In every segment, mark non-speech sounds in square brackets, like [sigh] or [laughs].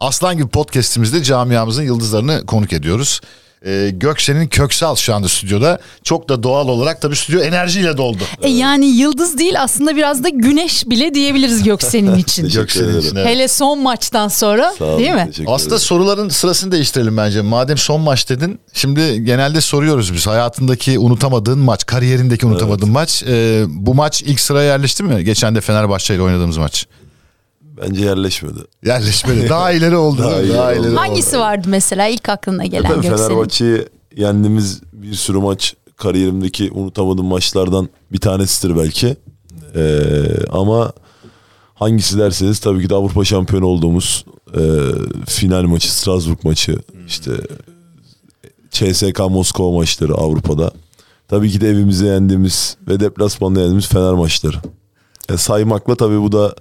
Aslan gibi podcast'imizde camiamızın yıldızlarını konuk ediyoruz. Ee, Gökşen'in Köksal şu anda stüdyoda. Çok da doğal olarak tabii stüdyo enerjiyle doldu. E yani yıldız değil aslında biraz da güneş bile diyebiliriz [laughs] Göksel'in için. Teşekkür Göksel'in ederim. için, evet. Hele son maçtan sonra Sağ olun, değil mi? teşekkür Aslında ederim. soruların sırasını değiştirelim bence. Madem son maç dedin. Şimdi genelde soruyoruz biz. Hayatındaki unutamadığın maç, kariyerindeki unutamadığın maç. Ee, bu maç ilk sıraya yerleşti mi? Geçen de Fenerbahçe ile oynadığımız maç. Bence yerleşmedi. [laughs] Yerleşmedi. Daha ileri oldu. Daha değil mi? ileri oldu. oldu. Hangisi vardı mesela ilk aklına gelen Tabii Göksel'in? Fenerbahçe'yi yendiğimiz bir sürü maç kariyerimdeki unutamadığım maçlardan bir tanesidir belki. Ee, ama hangisi derseniz tabii ki de Avrupa şampiyonu olduğumuz e, final maçı, Strasbourg maçı, işte CSK Moskova maçları Avrupa'da. Tabii ki de evimizde yendiğimiz ve deplasmanda yendiğimiz Fener maçları. E, saymakla tabii bu da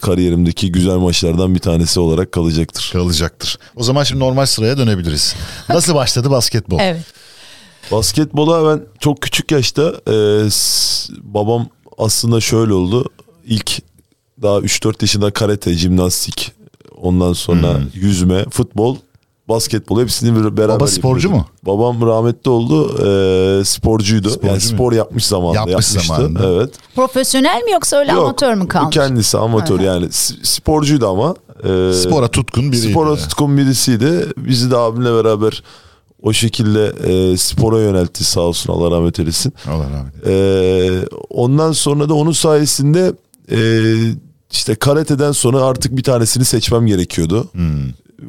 kariyerimdeki güzel maçlardan bir tanesi olarak kalacaktır. Kalacaktır. O zaman şimdi normal sıraya dönebiliriz. Nasıl başladı basketbol? Evet. Basketbola ben çok küçük yaşta e, s- babam aslında şöyle oldu. İlk daha 3-4 yaşında karate, jimnastik, ondan sonra yüzme, futbol, basketbol hepsini bir- beraber Hmm. Baba sporcu yapıyordum. Babam rahmetli oldu. e, sporcuydu. yani Sporcu mu? spor yapmış zamanında. Yapmış yapmıştı. zamanında. Evet. Profesyonel mi yoksa öyle Yok, amatör mü kalmış? Kendisi amatör Aha. yani s- sporcuydu ama. e, Spora tutkun biriydi. Spora tutkun birisiydi. Bizi de abimle beraber o şekilde e, spora yöneltti sağ olsun Allah rahmet eylesin. Allah rahmet eylesin. E, ondan sonra da onun sayesinde e, işte karate'den sonra artık bir tanesini seçmem gerekiyordu.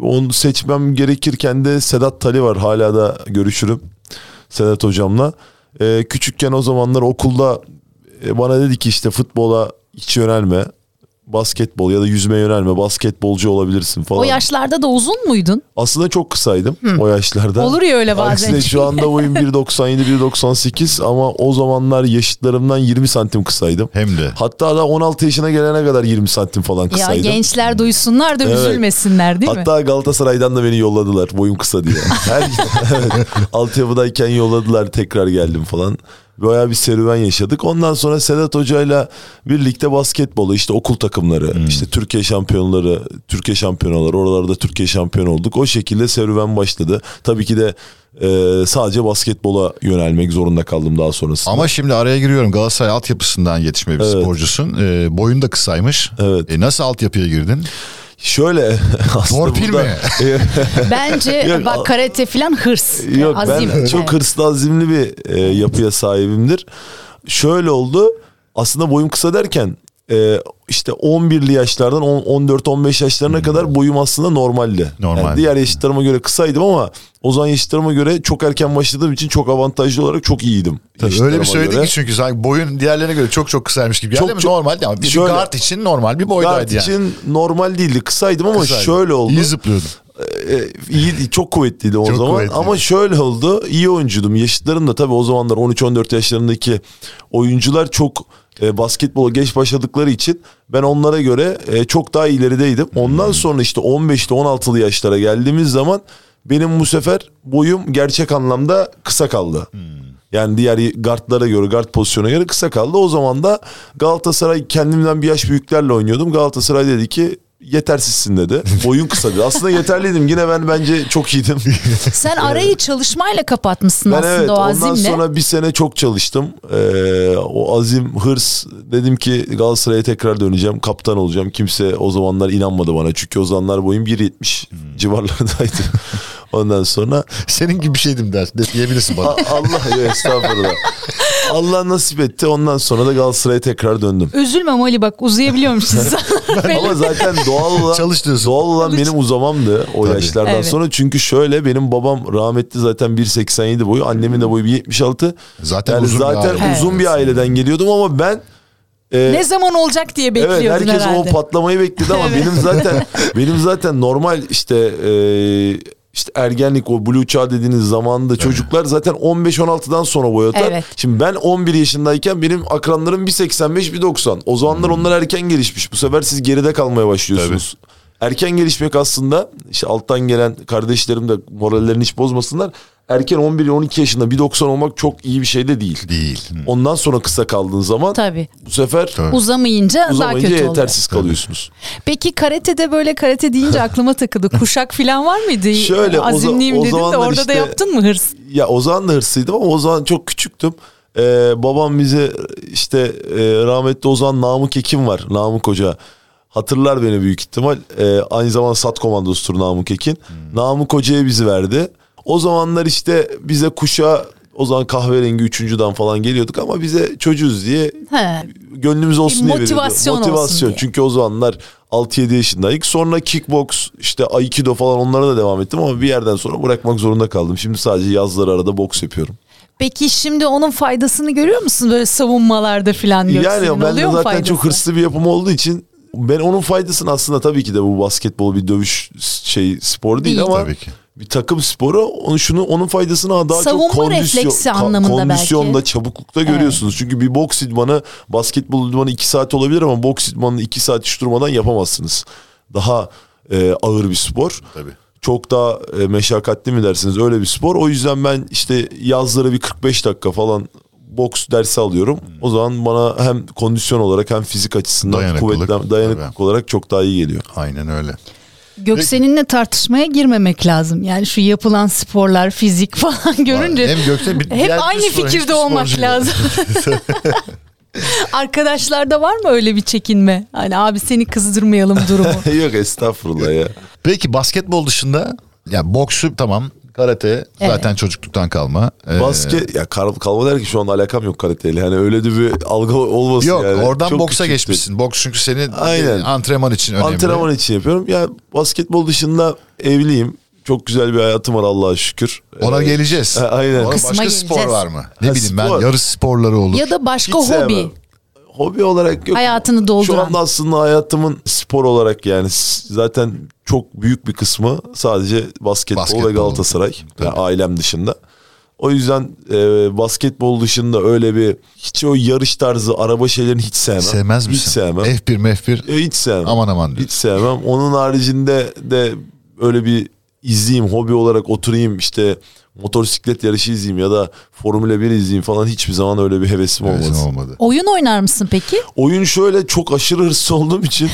Onu seçmem gerekirken de Sedat Tali var hala da görüşürüm Sedat hocamla. E, küçükken o zamanlar okulda e, bana dedi ki işte futbola hiç yönelme basketbol ya da yüzmeye yönelme basketbolcu olabilirsin falan. O yaşlarda da uzun muydun? Aslında çok kısaydım o yaşlarda. Olur ya öyle bazen. Aksine şu anda [laughs] boyum 1.97 1.98 ama o zamanlar yaşıtlarımdan 20 santim kısaydım. Hem de. Hatta da 16 yaşına gelene kadar 20 santim falan Ya kısaydım. gençler duysunlar da Evet. üzülmesinler değil mi? Hatta Galatasaray'dan da beni yolladılar boyum kısa diye. Her [laughs] evet, altyapıdayken yolladılar tekrar geldim falan. Bayağı bir serüven yaşadık. Ondan sonra Sedat Hoca'yla birlikte basketbolu işte okul takımları, Hmm. işte Türkiye şampiyonları, Türkiye şampiyonaları oralarda Türkiye şampiyon olduk. O şekilde serüven başladı. Tabii ki de e, sadece basketbola yönelmek zorunda kaldım daha sonrasında. Ama şimdi araya giriyorum. Galatasaray altyapısından yetişme bir sporcusun. Ee, boyun da kısaymış. Evet. E, nasıl altyapıya girdin? Şöyle [laughs] aslında Torpil burada- e, mi? [laughs] Bence [laughs] Yok, bak al- karate falan hırs. Yok azim. ben [laughs] çok Evet. hırslı azimli bir e, yapıya sahibimdir. Şöyle oldu. Aslında boyum kısa derken e, işte 11'li yaşlardan 10 14-15 yaşlarına kadar boyum aslında normaldi. Yani Normaldi. diğer yaşıtlarıma göre kısaydım ama o zaman yaşıtlarıma göre çok erken başladığım için çok avantajlı olarak çok iyiydim. Tabii öyle yaşıtlarıma bir söyledin göre. ki çünkü sanki boyun diğerlerine göre çok çok kısaymış gibi. Çok Çok, mi? çok- normal ama bir Şöyle- guard için normal bir boydaydı Guard yani. için normal değildi kısaydım ama Kısaydı. şöyle oldu. İyi zıplıyordun. [laughs] E, iyi çok kuvvetliydi o Çok zaman kuvvetliydi. ama şöyle oldu iyi oyuncuydum yaşıtlarım da tabii o zamanlar 13-14 yaşlarındaki oyuncular çok e, basketbola geç başladıkları için ben onlara göre e, çok daha ilerideydim. Ondan sonra işte 15'li 16'lı yaşlara geldiğimiz zaman benim bu sefer boyum gerçek anlamda kısa kaldı. Yani diğer gardlara göre, gard pozisyona göre kısa kaldı. O zaman da Galatasaray kendimden bir yaş büyüklerle oynuyordum. Galatasaray dedi ki yetersizsin dedi. Boyun kısa dedi. Aslında yeterliydim. Yine ben bence çok iyiydim. Sen arayı çalışmayla kapatmışsın ben aslında evet o ondan azimle. sonra bir sene çok çalıştım. Ee, o azim, hırs dedim ki Galatasaray'a tekrar döneceğim. Kaptan olacağım. Kimse o zamanlar inanmadı bana. Çünkü o zamanlar boyum 1.70 Hmm. civarlarındaydı. [laughs] Ondan sonra Senin gibi bir şeydim der. de- Diyebilirsin bana. A- Allah ya estağfurullah. Allah nasip etti. Ondan sonra da Galatasaray'a tekrar döndüm. Üzülme Mali bak [laughs] uzayabiliyormuşsun. [laughs] Ama zaten doğal olan, Çalış diyorsun. doğal olan benim uzamamdı o Tabii. yaşlardan Evet. sonra. Çünkü şöyle benim babam rahmetli zaten 1.87 boyu. Annemin de boyu 1.76. Zaten yani uzun bir zaten aile. uzun bir aileden geliyordum ama ben e, ne zaman olacak diye bekliyordun evet herkes herhalde. o patlamayı [laughs] bekledi ama benim zaten benim zaten normal işte e, işte ergenlik o blue çağ dediğiniz zamanda çocuklar zaten 15-16'dan sonra boy atar. Evet. Şimdi ben 11 yaşındayken benim Hmm. akranlarım 1.85 1.90. O zamanlar onlar erken gelişmiş. Bu sefer siz geride kalmaya başlıyorsunuz. erken gelişmek aslında işte alttan gelen kardeşlerim de morallerini hiç bozmasınlar. Erken 11-12 yaşında 1.90 olmak çok iyi bir şey de değil. Değil. Hı. Ondan sonra kısa kaldığın zaman Tabii. bu sefer Tabii. Uzamayınca, daha uzamayınca kötü oluyor. yetersiz kalıyorsunuz. Peki karatede böyle karate deyince aklıma [laughs] takıldı. Kuşak falan var mıydı? Şöyle, o za- Azimliyim o dedin de zamanlar orada da işte- yaptın mı hırs? Ya o zaman da hırslıydım ama o zaman çok küçüktüm. Ee, babam bize işte e, rahmetli Ozan Namık Ekim var. Namık Hoca. Hatırlar beni büyük ihtimal. Ee, aynı zamanda sat komandosudur Namık Ekin. Namık Hoca'ya bizi verdi. O zamanlar işte bize kuşa o zaman kahverengi üçüncüden falan geliyorduk ama bize çocuğuz diye He. gönlümüz Bir olsun diye motivasyon veriyordu. olsun diye. Çünkü o zamanlar 6-7 yaşındaydık. Sonra kickbox, işte aikido falan onlara da devam ettim ama bir yerden sonra bırakmak zorunda kaldım. Şimdi sadece yazları arada boks yapıyorum. Peki şimdi onun faydasını görüyor musun böyle savunmalarda falan Göksel'in? yani ben de Oluyor mu zaten faydası? çok hırslı bir yapım olduğu için ben onun faydasını aslında tabii ki de bu basketbol bir dövüş şey sporu değil, Değil. ama Tabii ki. bir takım sporu onun şunu onun faydasını daha Savunma çok kondisyon refleksi ka- anlamında kondisyonda belki. çabuklukta görüyorsunuz. Çünkü bir boks idmanı basketbol idmanı 2 saat olabilir ama boks idmanını 2 saat hiç durmadan yapamazsınız. Daha e, ağır bir spor. Tabii. Çok daha e, meşakkatli mi dersiniz öyle bir spor. O yüzden ben işte yazları bir 45 dakika falan boks dersi alıyorum. Hmm. O zaman bana hem kondisyon olarak hem fizik açısından Dayanıklılık. kuvvetten dayanıklık olarak çok daha iyi geliyor. [laughs] Aynen öyle. Göksel'inle tartışmaya girmemek lazım. Yani şu yapılan sporlar, fizik [laughs] falan görünce Hem Gökçe bir diğer hep bir aynı spor, hem fikirde sporcu olmak gibi. lazım. Arkadaşlarda var mı öyle bir çekinme? Hani abi seni kızdırmayalım [laughs] durumu. Yok estağfurullah ya. Peki basketbol dışında ya boksu tamam karate zaten çocukluktan kalma. Ee, Basket ya kar, kalma der ki şu anda alakam yok karateyle. Hani öyle de bir algı olmasın Yok yani. oradan Çok boksa küçüktü. geçmişsin. Boks çünkü senin Aynen. e, antrenman için önemli. Antrenman için yapıyorum. Ya basketbol dışında evliyim. Çok güzel bir hayatım var Allah'a şükür. Ona Ee, geleceğiz. Ha, [laughs] aynen. Ona Kısma başka geleceğiz. spor var mı? Ne Ha, bileyim ben spor. yarış sporları olur. ya da başka Hiç hobi. sevmem. Hobi olarak yok. Hayatını Şu dolduran. anda aslında hayatımın spor olarak yani s- zaten çok büyük bir kısmı sadece basketbol, Basketbol. ve Galatasaray. Tabii. Yani ailem dışında. O yüzden e, basketbol dışında öyle bir hiç o yarış tarzı araba şeylerini hiç sevmem. Sevmez misin? Hiç sevmem. F1 mef1 E, hiç sevmem. aman aman diyor. Hiç sevmem. Onun haricinde de öyle bir izleyeyim, hobi olarak oturayım işte motosiklet yarışı izleyeyim ya da Formula 1 izleyeyim falan hiçbir zaman öyle bir hevesim Neyse, olmaz. olmadı. Oyun oynar mısın peki? Oyun şöyle çok aşırı hırslı [laughs] olduğum için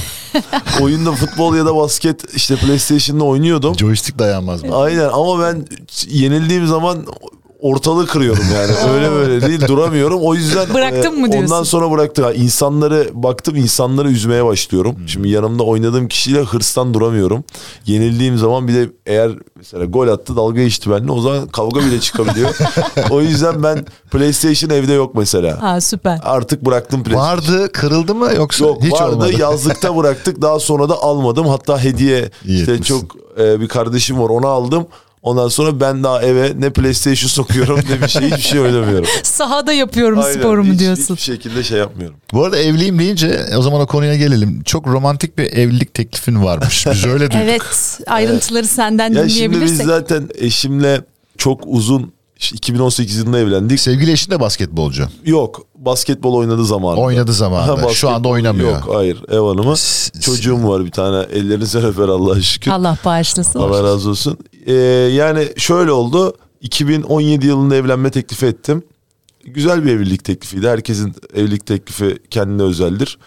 oyunda futbol ya da basket işte PlayStation'da oynuyordum. Joystick dayanmaz mı? Aynen ama ben yenildiğim zaman ortalığı kırıyorum yani. [laughs] Öyle böyle değil duramıyorum. O yüzden e, Bıraktın mı diyorsun? Ondan sonra bıraktım. Yani insanları baktım insanları üzmeye başlıyorum. Şimdi yanımda oynadığım kişiyle hırstan duramıyorum. Yenildiğim zaman bir de eğer mesela gol attı dalga geçti benimle o zaman kavga [laughs] bile çıkabiliyor. o yüzden ben PlayStation evde yok mesela. Ha süper. Artık bıraktım PlayStation. Vardı kırıldı mı yoksa Yok hiç vardı olmadı? [laughs] yazlıkta bıraktık daha sonra da almadım hatta hediye İyi işte etmişsin. çok e, bir kardeşim var onu aldım. Ondan sonra ben daha eve ne PlayStation sokuyorum ne bir şey hiçbir [laughs] şey oynamıyorum. Sahada yapıyorum Aynen, sporumu hiç- diyorsun. Hiçbir şekilde şey yapmıyorum. Bu arada evliyim deyince o zaman o konuya gelelim. Çok romantik bir evlilik teklifin varmış. Biz öyle duyduk. Evet ayrıntıları senden Ya şimdi biz dinleyebilirsek. zaten eşimle çok uzun işte 2018 yılında evlendik. Sevgili eşin de basketbolcu. Yok basketbol oynadığı zaman. [laughs] Oynadı zamanında. Şu anda oynamıyor. Yok hayır ev hanımı. S- s- Çocuğum var bir tane ellerinize öper Allah'a şükür. Allah bağışlasın. Allah razı olsun. Ee, yani şöyle oldu. 2017 yılında evlenme teklifi ettim. Güzel bir evlilik teklifiydi. Herkesin evlilik teklifi kendine özeldir.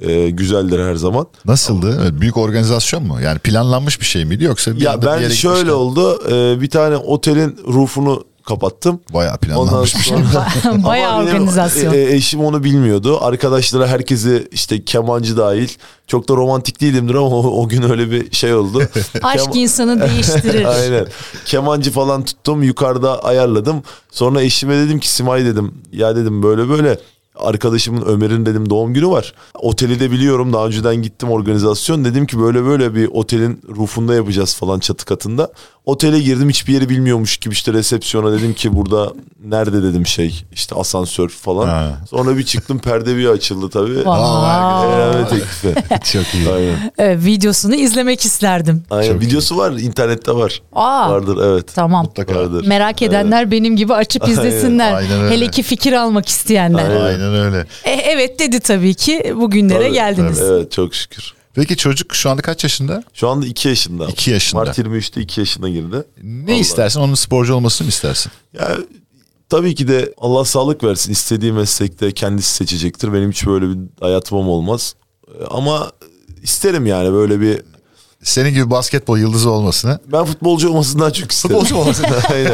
Ee, güzeldir her zaman. Nasıldı? Evet, Büyük organizasyon mu? Yani planlanmış bir şey miydi yoksa bir Ya anda bir ben yere şöyle gitmişler? oldu. Ee, bir tane otelin roofunu kapattım. Bayağı Ondan planlanmış bir şey. sonra Bayağı Ama benim, organizasyon. e, e, eşim onu bilmiyordu. Arkadaşlara herkesi işte kemancı dahil. Çok da romantik değilimdir ama o, o gün öyle bir şey oldu. Aşk Kem- insanı değiştirir. [laughs] Aynen. Kemancı falan tuttum yukarıda ayarladım. Sonra eşime dedim ki Simay dedim ya dedim böyle böyle arkadaşımın Ömer'in dedim doğum günü var. Oteli de biliyorum daha önceden gittim organizasyon. Dedim ki böyle böyle bir otelin rufunda yapacağız falan çatı katında. Otele girdim hiçbir yeri bilmiyormuş gibi işte resepsiyona dedim ki burada nerede dedim şey işte asansör falan. Ha. Sonra bir çıktım perde bir açıldı tabii. Vay. [laughs] Aa. Evlenme teklifi. Çok iyi. Aynen. E, videosunu izlemek isterdim. Aynen. Çok iyi. Videosu var internette var. Aa, Vardır evet. tamam. Mutlaka. Vardır. Merak edenler benim gibi açıp izlesinler. aynen öyle. Hele ki fikir almak isteyenler. Aynen. Aynen öyle. E, evet dedi tabii ki bugünlere Tabii, geldiniz. tabii. Evet çok şükür. Peki çocuk şu anda kaç yaşında? Şu anda 2 yaşında. İki yaşında. Mart 23'te 2 yaşına girdi. Ne Vallahi. istersin? Onun sporcu olmasını mı istersin? Ya tabii ki de Allah sağlık versin. İstediği meslekte kendisi seçecektir. Benim hiç böyle bir hayatım olmaz. E, Ama isterim yani böyle bir Senin gibi basketbol yıldızı olmasını. ben futbolcu olmasından çok isterim. Futbolcu olmasını. [laughs] Aynen.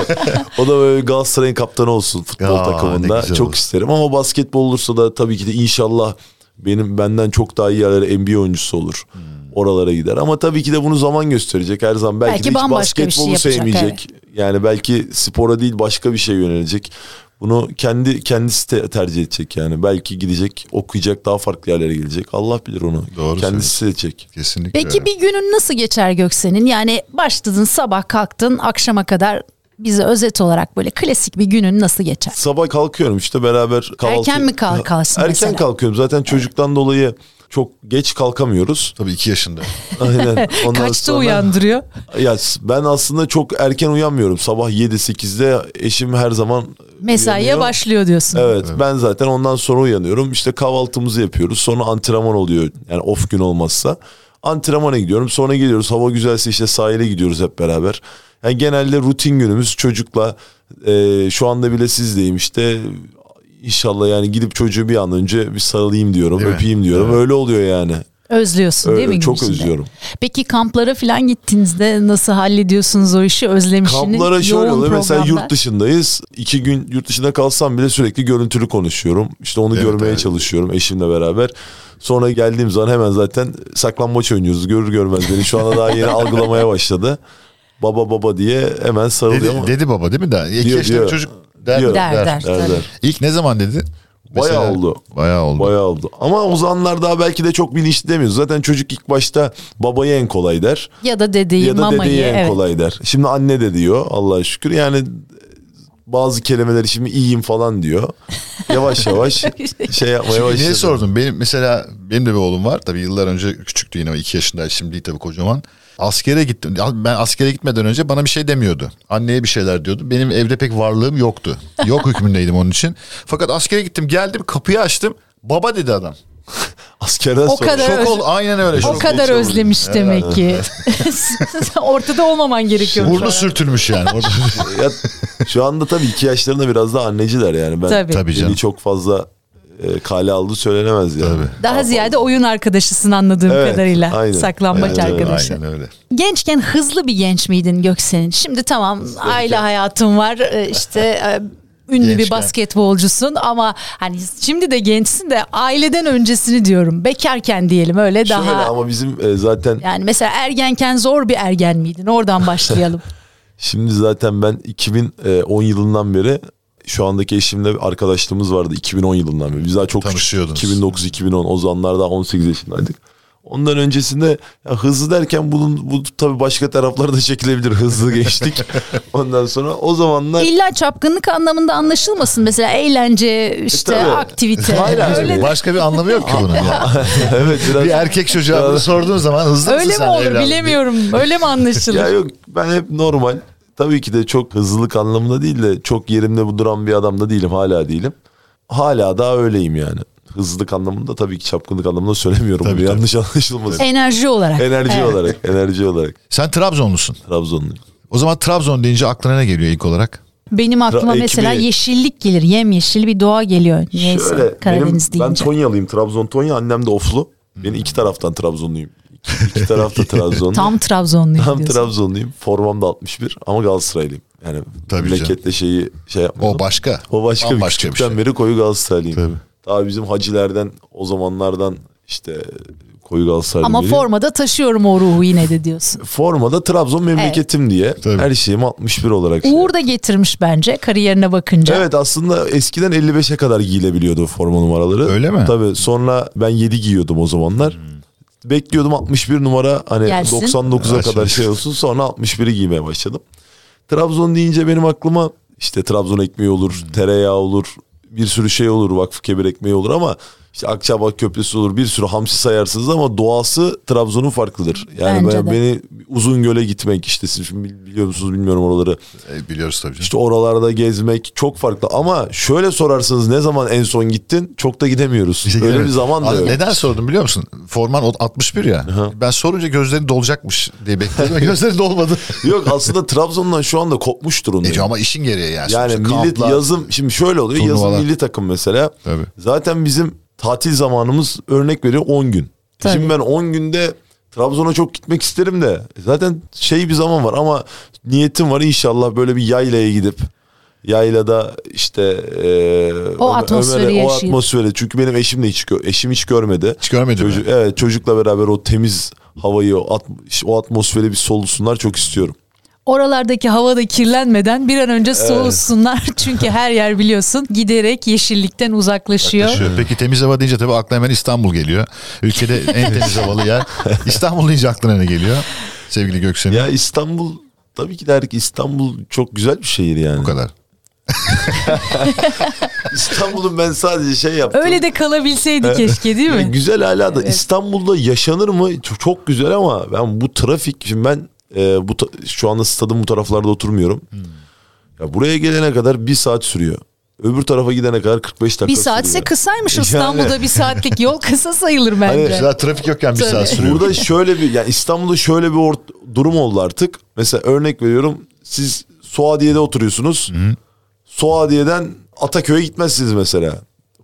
O da böyle Galatasaray'ın kaptanı olsun futbol Aa, ne takımında. güzel Çok olur. isterim ama basketbol olursa da tabii ki de inşallah benim benden çok daha iyi yerlere NBA oyuncusu olur. Hmm. Oralara gider ama tabii ki de bunu zaman gösterecek her zaman. Belki, Belki de hiç bambaşka bir basketbolu şey yapacak, sevmeyecek. Yani belki spora değil başka bir şey yönelecek. Bunu kendi kendisi te- tercih edecek yani. Belki gidecek, okuyacak, daha farklı yerlere gidecek. Allah bilir onu. Doğru kendisi seçecek. Kesinlikle. Peki öyle. bir günün nasıl geçer Göksen'in? Yani başladın sabah kalktın akşama kadar bize özet olarak böyle klasik bir günün nasıl geçer? Sabah kalkıyorum işte beraber kahvaltı. Erken mi kalkarsın Erken mesela? kalkıyorum. Zaten çocuktan dolayı çok [laughs] geç kalkamıyoruz. Tabii iki yaşında. Aynen. Ondan Kaçta sonra- uyandırıyor? Ya s- ben aslında çok erken uyanmıyorum. Sabah 7-8'de eşim her zaman Mesaiye uyanıyor. başlıyor diyorsun. Evet, ben zaten ondan sonra uyanıyorum. İşte kahvaltımızı yapıyoruz. Sonra antrenman oluyor. Yani off gün olmazsa. Antrenmana gidiyorum. Sonra geliyoruz. Hava güzelse işte sahile gidiyoruz hep beraber. Yani genelde rutin günümüz çocukla e, şu anda bile sizdeyim işte. İnşallah yani gidip çocuğu bir an önce bir sarılayım diyorum, Değil mi? öpeyim diyorum. Öyle oluyor yani. Özlüyorsun Öyle, değil mi? gün çok içinde? özlüyorum. Peki kamplara falan gittiğinizde nasıl hallediyorsunuz o işi? Özlemişini Kamplara şöyle yoğun oluyor. Mesela programlar. yurt dışındayız. İki gün yurt dışında kalsam bile sürekli görüntülü konuşuyorum. İşte onu Evet, görmeye evet. çalışıyorum eşimle beraber. Sonra geldiğim zaman hemen zaten saklambaç oynuyoruz. Görür görmez beni şu anda daha yeni algılamaya başladı. Baba baba diye hemen sarılıyor ama Dedi, dedi baba değil mi? Daha? İki Diyor, yaşında diyor. bir çocuk der, Diyor. der, Der, der. der der. İlk ne zaman dedi? Bayağı oldu. Bayağı oldu. Bayağı oldu. Ama o zamanlar daha belki de çok bilinçli demiyoruz. Zaten çocuk ilk başta babayı en kolay der. Ya da dedeyi, ya da mamayı. dedeyi en evet. kolay der. Şimdi anne de diyor Allah'a şükür. Yani bazı kelimeler şimdi iyiyim falan diyor. [laughs] Yavaş yavaş şey yapmaya Şimdi başladı. niye sordum? Benim mesela benim de bir oğlum var. Tabii yıllar önce küçüktü yine 2 yaşındaydı. Şimdi değil tabii kocaman. Askere gittim. Ben askere gitmeden önce bana bir şey demiyordu. Anneye bir şeyler diyordu. Benim evde pek varlığım yoktu. [laughs] Yok hükmündeydim onun için. Fakat askere gittim, geldim, kapıyı açtım. Baba dedi adam. Askerden O sonra. kadar Şok öz- ol. Aynen öyle. O şey Şok. kadar geçiyor özlemiş demek ki. [laughs] Ortada olmaman gerekiyor. Burnu sürtülmüş yani. Orada- Ya, şu anda tabii iki yaşlarında biraz daha anneciler yani. Ben Tabii. Tabii beni canım. çok fazla e, kale aldığı söylenemez yani. Tabii. Daha ziyade oyun arkadaşısın anladığım Evet, kadarıyla. aynen. Saklambaç Aynen, arkadaşı. Aynen öyle. Gençken hızlı bir genç miydin Göksen'in? Şimdi tamam aile hayatın var e, işte e, ünlü bir Gençken. basketbolcusun ama hani şimdi de gençsin de aileden öncesini diyorum. Bekarken diyelim öyle Şöyle daha. ama bizim e, zaten Yani mesela ergenken zor bir ergen miydin? Oradan [laughs] başlayalım. Şimdi zaten ben 2010 yılından beri şu andaki eşimle bir arkadaşlığımız vardı 2010 yılından beri. Biz daha çok Tanışıyordunuz. 2009-2010 o zamanlar daha 18 yaşındaydık. Ondan öncesinde ya hızlı derken bunun bu tabii başka taraflara da çekilebilir [laughs] hızlı geçtik. Ondan sonra o zamanlar İlla çapkınlık anlamında anlaşılmasın. Mesela eğlence, işte E, [laughs] tabii. aktivite. Hala öyle öyle. Başka bir anlamı yok ki bunun. Yani. [laughs] evet biraz Bir erkek çocuğa bunu sorduğun zaman hızlı mısın öyle mi sen olur evladım? bilemiyorum. Öyle [laughs] mi anlaşılır? ya yok ben hep normal. Tabii ki de çok hızlılık anlamında değil de çok yerimde bu duran bir adam da değilim hala değilim. Hala daha öyleyim yani. Hızlılık anlamında tabii ki çapkınlık anlamında söylemiyorum. Tabii, bunu. tabii. Yanlış anlaşılmasın. Enerji olarak. Enerji Evet. olarak, enerji olarak Sen Trabzonlusun. Trabzonluyum. O zaman Trabzon deyince aklına ne geliyor ilk olarak? Benim aklıma Ra- mesela ekmeği- yeşillik gelir. Yem yeşil bir doğa geliyor. Neyse Şöyle, Karadeniz benim, ben deyince. Tonyalıyım. Trabzon Tonya, annem de Oflu. Hmm. Ben iki taraftan [laughs] Trabzonluyum. İki, iki tarafta Trabzonluyum. Tam Trabzonluyum [laughs] Tam diyorsun. Trabzonluyum. Formam da 61 ama Galatasaraylıyım. Yani Tabii memleketle şeyi şey yapmadım. O başka. O başka bir Bambaşka küçükten beri koyu Galatasaraylıyım. Tabii. Daha bizim hacilerden o zamanlardan işte koyu Galatasaraylıyım. Ama formada taşıyorum o ruhu yine de diyorsun. Formada Trabzon memleketim diye Tabii. her şeyim 61 olarak. şey Uğur da getirmiş bence kariyerine bakınca. Evet aslında eskiden 55'e kadar giyilebiliyordu forma numaraları. Öyle mi? Tabii sonra ben 7 giyiyordum o zamanlar. Bekliyordum 61 numara hani Gelsin. 99'a Ya kadar şimdi- şey olsun sonra 61'i giymeye başladım. Trabzon deyince benim aklıma işte Trabzon ekmeği olur, tereyağı olur, bir sürü şey olur, vakfı kebir ekmeği olur ama işte Akçabat Köprüsü olur bir sürü hamsi sayarsınız ama doğası Trabzon'un farklıdır. Yani Bence ben, de. beni uzun göle gitmek işte siz şimdi biliyor musunuz bilmiyorum oraları. E, biliyoruz tabii canım. İşte oralarda gezmek çok farklı ama şöyle sorarsınız ne zaman en son gittin çok da gidemiyoruz. İşte Öyle evet. bir zaman da Abi yok. Neden sordum biliyor musun? Forman o- 61 ya. Ben sorunca gözleri dolacakmış diye [laughs] bekledim. gözleri dolmadı. [laughs] Yok aslında Trabzon'dan şu anda kopmuş durumda. E, ama işin gereği yani. Yani Sonuçta milli kamplar- yazım şimdi şöyle oluyor. turnuvalar. Yazın milli takım mesela. Tabii. Zaten bizim tatil zamanımız örnek veriyor 10 gün. Tabii. Şimdi ben 10 günde Trabzon'a çok gitmek isterim de zaten şey bir zaman var ama niyetim var inşallah böyle bir yaylaya gidip yaylada işte eee, O Ömer- atmosferi Ömer'e- o yaşayıp. atmosferi çünkü benim eşim de hiç gö- eşim hiç görmedi. Hiç görmedi mi? Çocuk- evet çocukla beraber o temiz havayı o, at- o atmosferi bir solusunlar çok istiyorum. Oralardaki hava da kirlenmeden bir an önce soğusunlar. [laughs] Çünkü her yer biliyorsun giderek yeşillikten uzaklaşıyor. Taşıyor. Peki temiz hava deyince tabii akla hemen İstanbul geliyor. Ülkede en temiz havalı [laughs] yer. İstanbul deyince aklına ne geliyor? Sevgili Göksel'in Ya İstanbul tabii ki derdik İstanbul çok güzel bir şehir yani. bu kadar. İstanbul'un ben sadece şey yaptım. Öyle de kalabilseydi keşke değil Ya mi? [laughs] Güzel hala da İstanbul'da yaşanır mı? Ç- Çok güzel ama ben bu trafik şimdi ben e, bu ta- şu anda stadın bu taraflarda oturmuyorum. Ya buraya gelene kadar bir saat sürüyor. Öbür tarafa gidene kadar 45 dakika Bir saatse sürüyor. kısaymış Yani- İstanbul'da bir saatlik yol kısa sayılır bence. Mesela trafik yokken bir Tabii. saat sürüyor. Burada şöyle bir yani İstanbul'da şöyle bir ort- durum oldu artık. Mesela örnek veriyorum siz Suadiye'de oturuyorsunuz. Suadiye'den Ataköy'e gitmezsiniz mesela.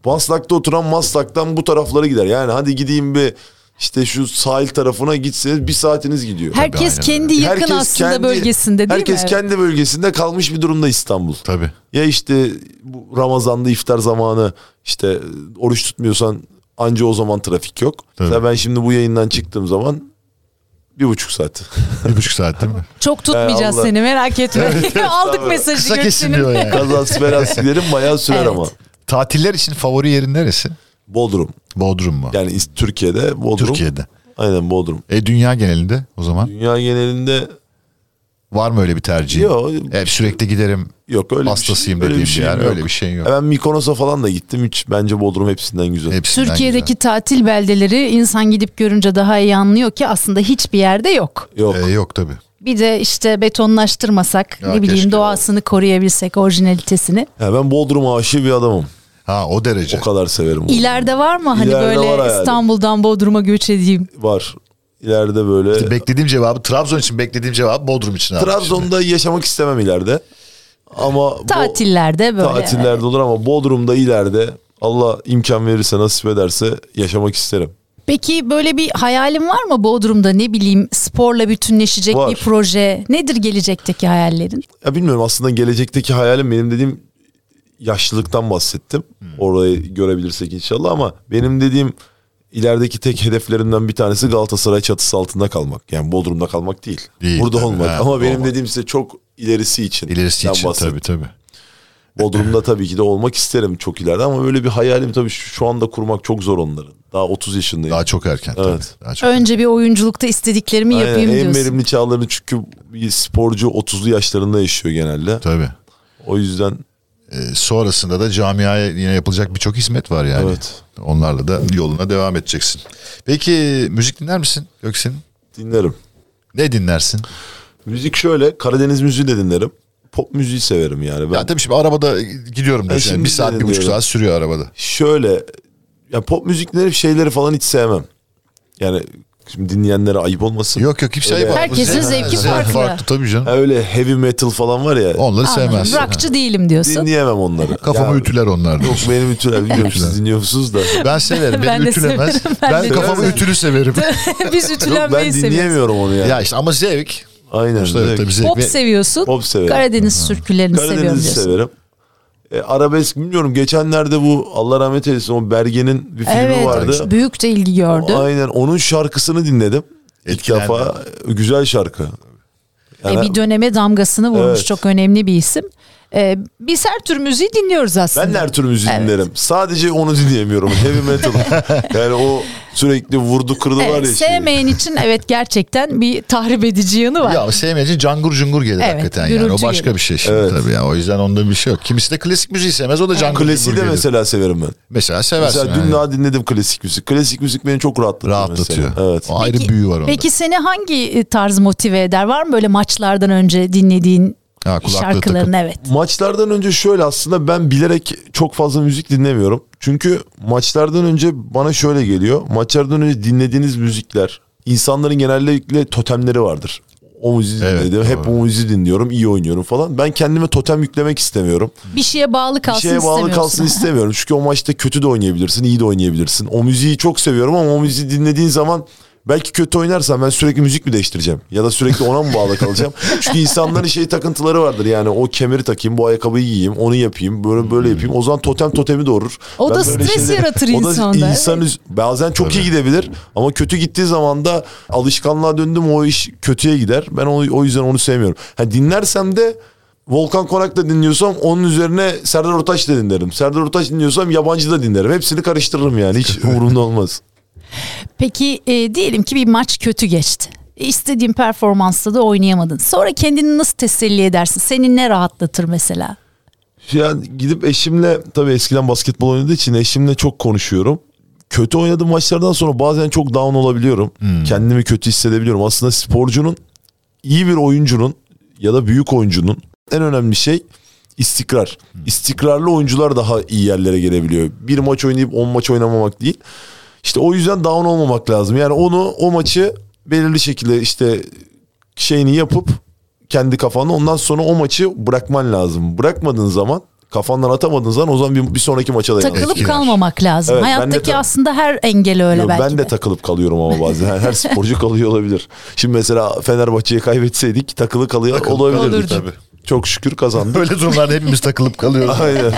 Maslak'ta oturan Maslak'tan bu taraflara gider. Yani hadi gideyim bir işte şu sahil tarafına gitseniz bir saatiniz gidiyor. herkes aynen kendi yakın aslında kendi- bölgesinde değil mi? Herkes kendi bölgesinde kalmış bir durumda İstanbul. Tabii. Ya işte bu Ramazan'da iftar zamanı işte oruç tutmuyorsan anca o zaman trafik yok. Tabii. Mesela ben şimdi bu yayından çıktığım zaman bir buçuk saat. [laughs] Bir buçuk saat değil mi? Çok tutmayacağız Allah. seni merak [laughs] etme. Aldık mesajı. Kısa Gökçen'in. kesin diyor yani. Kazası belası giderim bayağı sürer Evet. ama. Tatiller için favori yerin neresi? Bodrum. Bodrum mu? Yani is- Türkiye'de Bodrum. Türkiye'de. Aynen Bodrum. E dünya genelinde o zaman Dünya genelinde var mı öyle bir tercih? yok, Hep sürekli giderim. yok öyle hastasıyım bir şey, öyle dediğim bir bir şeyim yer. yok. Öyle bir şey yok. Ya Ben Mikonos'a falan da gittim. Hiç bence Bodrum hepsinden güzel. Hepsinden Türkiye'deki güzel. tatil beldeleri insan gidip görünce daha iyi anlıyor ki aslında hiçbir yerde yok. Yok. E, yok tabii. Bir de işte betonlaştırmasak Ya ne bileyim keşke. doğasını koruyabilsek orijinalitesini. Ya ben Bodrum aşığı bir adamım. Ha o derece. O kadar severim. Bodrum'u. İleride var mı hani İleride var böyle herhalde. İstanbul'dan Bodrum'a göç edeyim? var. İleride böyle. İşte beklediğim cevabı Trabzon için beklediğim cevabı Bodrum için abi. Trabzon'da yaşamak istemem ileride. Ama bu- Tatillerde böyle. tatillerde olur ama Bodrum'da ileride Allah imkan verirse nasip ederse yaşamak isterim. Peki böyle bir hayalin var mı Bodrum'da ne bileyim sporla bütünleşecek Var. bir proje? Nedir gelecekteki hayallerin? Ya bilmiyorum aslında gelecekteki hayalim benim dediğim yaşlılıktan bahsettim. Hmm. Orayı görebilirsek inşallah ama benim dediğim ilerideki tek hedeflerimden bir tanesi Galatasaray çatısı altında kalmak. Yani Bodrum'da kalmak değil. Değil, Burada tabii. olmak. Ha, ama benim olmak. dediğim size çok ilerisi için. İlerisi Ben için bahsettim. tabii tabii. Bodrum'da tabii ki de olmak isterim çok ileride ama böyle bir hayalim tabii şu şu anda kurmak çok zor onların. Daha 30 yaşındayım. Daha çok erken tabii. Evet. Daha çok. Önce bir oyunculukta istediklerimi Aynen, yapayım en diyorsun. verimli çağlarını çünkü bir sporcu 30'lu yaşlarında yaşıyor genelde. Tabii. O yüzden E, sonrasında da camiaya yine yapılacak birçok hizmet var yani. Evet. Onlarla da yoluna devam edeceksin. Peki müzik dinler misin Göksin? dinlerim. Ne dinlersin? Müzik şöyle Karadeniz müziği de dinlerim. Pop müziği severim yani. Ben Ya tabii şimdi arabada gidiyorum düşün. E, şimdi bir saat bir buçuk dinliyorum. saat sürüyor arabada. şöyle ya pop müzik dinlerim şeyleri falan hiç sevmem. Yani şimdi dinleyenlere ayıp olmasın. Yok yok kimse Öyle. ayıp Herkesin yapmaz. zevki Zevk farklı. Farklı tabii canım. Ha, Öyle heavy metal falan var ya. Onları Anladım. sevmez. Rockçı değilim diyorsun. Dinleyemem onları. Kafamı Ya, ütüler onlar. Yok diyorsun. benim ütüler biliyorum siz dinliyor musunuz da. Ben severim. Ben Beni de ütülemez. severim, ben Ben, de kafamı severim. ütülü severim. [laughs] Biz Yok ben ütülenmeyi seviyoruz. dinleyemiyorum onu yani. ya işte ama zevk. Aynen. İşte evet, direkt. tabii zevk. Pop ve- seviyorsun. Pop severim. Karadeniz türkülerini seviyorum Karadeniz'i diyorsun. severim. E, arabesk bilmiyorum geçenlerde bu Allah rahmet eylesin o Berge'nin bir filmi Evet. vardı. Büyük de ilgi gördü. Aynen onun şarkısını dinledim. İlk Etkilendim. defa güzel şarkı. E, Yani bir E, döneme damgasını vurmuş Evet. çok önemli bir isim. Ee, biz her tür müziği dinliyoruz aslında. Ben de her tür müziği Evet. dinlerim. Sadece onu dinleyemiyorum. Heavy [laughs] metal. yani o sürekli vurdu kırdı var Evet, ya. şey. E, sevmeyen [laughs] için evet gerçekten bir tahrip edici yanı var. Ya sevmeyince cangur cungur gelir Evet, hakikaten yani. gürültü O başka gelir. bir şey şimdi tabii ya. O yüzden onda bir şey yok. Kimisi de klasik müziği sevmez o da cangur Klasiği de cungur gelir. mesela severim ben. Mesela seversin. Mesela dün yani. daha dinledim klasik müzik. Klasik müzik beni çok rahatlatıyor. rahatlatıyor. mesela. Evet. O ayrı büyü var onda. Peki seni hangi e, tarz motive eder? Var mı böyle maçlardan önce dinlediğin Ha, kulaklığı şarkıların? Evet. Maçlardan önce şöyle aslında ben bilerek çok fazla müzik dinlemiyorum. Çünkü maçlardan önce bana şöyle geliyor. Maçlardan önce dinlediğiniz müzikler insanların genellikle totemleri vardır. O müziği Evet, dinledim. Hep doğru. o müziği dinliyorum. iyi oynuyorum falan. Ben kendime totem yüklemek istemiyorum. Bir şeye bağlı Bir kalsın şeye bağlı istemiyorsun. [laughs] kalsın istemiyorum. Çünkü o maçta kötü de oynayabilirsin, iyi de oynayabilirsin. O müziği çok seviyorum ama o müziği dinlediğin zaman belki kötü oynarsam ben sürekli müzik mi değiştireceğim? Ya da sürekli ona mı [laughs] bağlı kalacağım? Çünkü insanların şey takıntıları vardır yani o kemeri takayım, bu ayakkabıyı giyeyim, onu yapayım, böyle böyle yapayım. O zaman totem totemi doğurur. O da böyle stres yaratır [laughs] insanda, evet. insan üz- bazen çok iyi gidebilir ama kötü gittiği zaman da alışkanlığa döndüm o iş kötüye gider. Ben o, o yüzden onu sevmiyorum. Ha, dinlersem de Volkan Konak da dinliyorsam onun üzerine Serdar Ortaç da dinlerim. Serdar Ortaç dinliyorsam yabancı da dinlerim. Hepsini karıştırırım yani hiç [laughs] umurumda olmaz. Peki e, diyelim ki bir maç kötü geçti. İstediğin performansta da oynayamadın. Sonra kendini nasıl teselli edersin? Seni ne rahatlatır mesela? Yani gidip eşimle tabii eskiden basketbol oynadığı için eşimle çok konuşuyorum. Kötü oynadığım maçlardan sonra bazen çok down olabiliyorum. Kendimi kötü hissedebiliyorum. Aslında sporcunun iyi bir oyuncunun ya da büyük oyuncunun en önemli şey istikrar. İstikrarlı oyuncular daha iyi yerlere gelebiliyor. Bir maç oynayıp 10 maç oynamamak değil. İşte o yüzden down olmamak lazım. Yani onu o maçı belirli şekilde işte şeyini yapıp kendi kafanda ondan sonra o maçı bırakman lazım. Bırakmadığın zaman kafandan atamadığın zaman o zaman bir, bir sonraki maça da Takılıp etkiler. kalmamak lazım. Evet, ben de Hayattaki tabii. aslında her engel öyle belki ben de de. takılıp kalıyorum ama bazen. Her, her sporcu kalıyor olabilir. Şimdi mesela Fenerbahçe'yi kaybetseydik takılı kalıyor olabilirdik. kalırdı tabii. Çok şükür [laughs] [laughs] kazandık. Böyle durumlarda hepimiz takılıp [laughs] kalıyoruz. Aynen.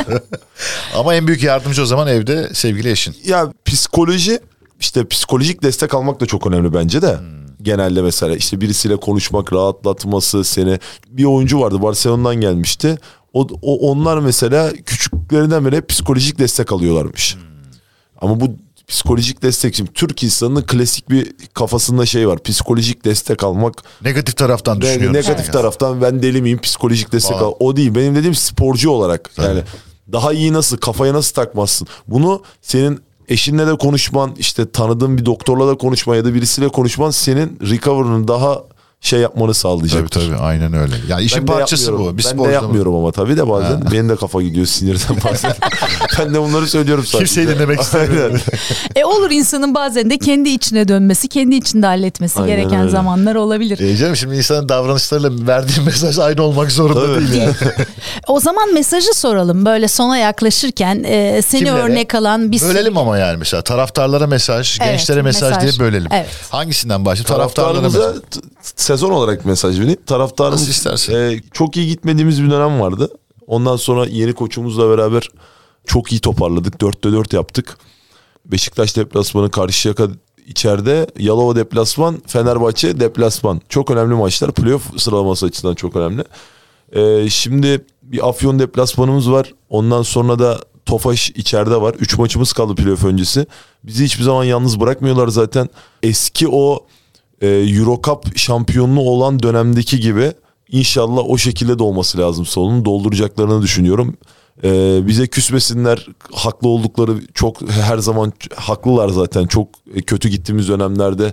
Ama en büyük yardımcı o zaman evde sevgili eşin. ya psikoloji işte psikolojik destek almak da çok önemli bence de. Genelde mesela işte birisiyle konuşmak rahatlatması seni. Bir oyuncu vardı Barcelona'dan gelmişti. O, o onlar mesela küçüklerinden beri hep psikolojik destek alıyorlarmış. Ama bu psikolojik destek şimdi Türk insanının klasik bir kafasında şey var. Psikolojik destek almak Negatif taraftan ne- düşünüyorum. negatif seni. taraftan ben deli miyim psikolojik destek Aa. al. O değil. Benim dediğim sporcu olarak yani daha iyi nasıl kafaya nasıl takmazsın. Bunu senin eşinle de konuşman işte tanıdığın bir doktorla da konuşman ya da birisiyle konuşman senin recovery'ını daha şey yapmanı Tabii sağlayacak. tabii aynen öyle. Ya işin Ben de parçası yapmıyorum. bu. Bir ben de sporcunun- yapmıyorum ama tabii de bazen. Benim de kafa gidiyor sinirden [laughs] bazen. ben de bunları söylüyorum sadece. Kimseyi dinlemek istemiyorum. Aynen. E olur insanın bazen de kendi içine dönmesi, kendi içinde halletmesi Aynen gereken öyle. zamanlar olabilir. E canım şimdi insanın davranışlarıyla verdiği [laughs] mesaj aynı olmak zorunda Tabii. değil. Yani. O zaman mesajı soralım böyle sona yaklaşırken e, seni Kimlere? örnek alan bir sürü- Bölelim ama yani mesela taraftarlara mesaj, Evet, gençlere mesaj, mesaj. diye bölelim. Evet. Hangisinden başlayalım? Taraftarlara mesaj. Taraftarımıza t- sezon olarak mesaj vereyim. Nasıl Taraftarımız istersen. e, çok iyi gitmediğimiz bir dönem vardı. Ondan sonra yeni koçumuzla beraber çok iyi toparladık. 4'te 4 yaptık. Beşiktaş deplasmanı Karşıyaka içeride. Yalova deplasman, Fenerbahçe deplasman. Çok önemli maçlar. Playoff sıralaması açısından çok önemli. E, şimdi bir Afyon deplasmanımız var. Ondan sonra da Tofaş içeride var. 3 maçımız kaldı playoff öncesi. Bizi hiçbir zaman yalnız bırakmıyorlar zaten. Eski o e, Euro Cup şampiyonluğu olan dönemdeki gibi inşallah o şekilde de olması lazım sonunu dolduracaklarını düşünüyorum. E, bize küsmesinler haklı oldukları çok her zaman ç- haklılar zaten çok e, kötü gittiğimiz dönemlerde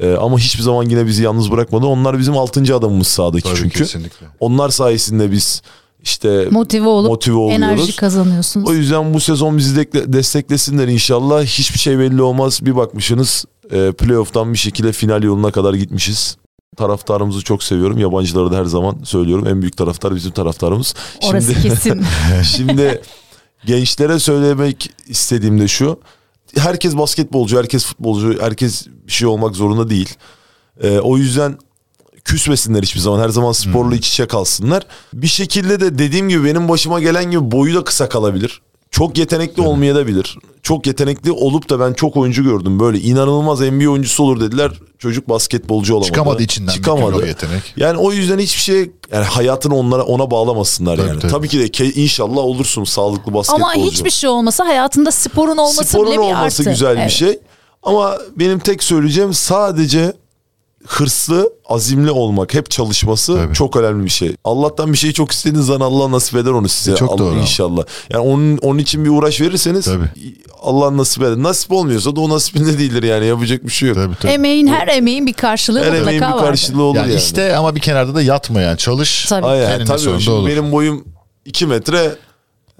E, ama hiçbir zaman yine bizi yalnız bırakmadı. Onlar bizim 6. adamımız sahadaki Tabii çünkü. kesinlikle. Onlar sayesinde biz işte motive olup Motive oluyoruz. enerji kazanıyorsunuz. o yüzden bu sezon bizi dekle- desteklesinler inşallah. Hiçbir şey belli olmaz. Bir bakmışsınız e, playoff'tan bir şekilde final yoluna kadar gitmişiz. Taraftarımızı çok seviyorum. Yabancıları da her zaman söylüyorum. En büyük taraftar bizim taraftarımız. Orası [laughs] kesin. Şimdi gençlere söylemek istediğim de şu. Herkes basketbolcu, herkes futbolcu, herkes bir şey olmak zorunda değil. Ee, o yüzden küsmesinler hiçbir zaman. Her zaman Hmm. sporla iç içe kalsınlar. Bir şekilde de dediğim gibi benim başıma gelen gibi boyu da kısa kalabilir. Çok yetenekli olmaya da bilir. Çok yetenekli olup da ben çok oyuncu gördüm böyle inanılmaz NBA oyuncusu olur dediler. Çocuk basketbolcu olamadı. Çıkamadı içinden bir türlü Çıkamadı. o yetenek. Yani o yüzden hiçbir şey yani hayatını onlara ona bağlamasınlar Tabii, yani. tabii. Tabii. ki de ke- inşallah olursun sağlıklı basketbolcu. Ama hiçbir şey olmasa hayatında sporun olması Sporun bile bir olması artı. güzel Evet. bir şey. Ama benim tek söyleyeceğim sadece hırslı, azimli olmak, hep çalışması Tabii. çok önemli bir şey. Allah'tan bir şeyi çok istediğiniz zaman Allah nasip eder onu size. E, çok Allah- doğru. inşallah. Yani onun onun için bir uğraş verirseniz Tabii. Allah nasip eder. Nasip olmuyorsa da o nasibinde değildir yani yapacak bir şey yok. Tabii, tabii. Emeğin her emeğin bir karşılığı Her mutlaka emeğin bir vardır. karşılığı olur Yani, yani. iste ama bir kenarda da yatma yani çalış. Tabii. Aynen Eninde tabii sonunda şimdi olur. benim boyum 2 metre.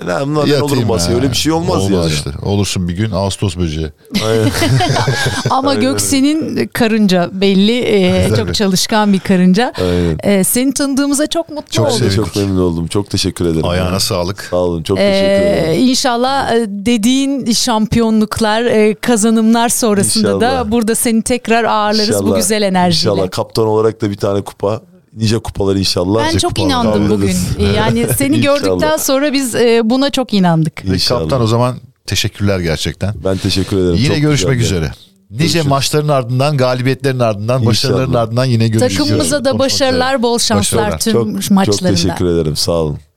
Ne lan ne Yatayım olurum basıyor. ha. Öyle bir şey olmaz, Olmaz yani. işte. Olursun bir gün Ağustos böceği. Aynen. [laughs] [laughs] Ama Göksin'in karınca belli e, Tabii. çok çalışkan bir karınca. Aynen. E, seni tanıdığımıza çok mutlu Çok oldum. Ben de sevindim. çok memnun oldum. Çok teşekkür ederim. Ayağına sağlık. Sağ olun. Çok teşekkür Ee, ederim. inşallah e, dediğin şampiyonluklar, e, kazanımlar sonrasında İnşallah. da burada seni tekrar ağırlarız bu İnşallah- güzel enerjiyle. İnşallah kaptan olarak da bir tane kupa. Nice kupalar inşallah. Ben çok kupalar inandım alırız. bugün. [laughs] E, Yani seni İnşallah. gördükten sonra biz e, buna çok inandık. Peki İnşallah. kaptan o zaman teşekkürler gerçekten. Ben teşekkür ederim. Yine Çok görüşmek güzeldi. üzere. Nice Görüşürüz. maçların ardından, galibiyetlerin ardından, başarıların İnşallah. ardından yine görüşürüz. Takımımıza da Konuşmak üzere. başarılar, bol şanslar Başarılar. tüm Çok, çok maçlarında. teşekkür ederim. Sağ olun.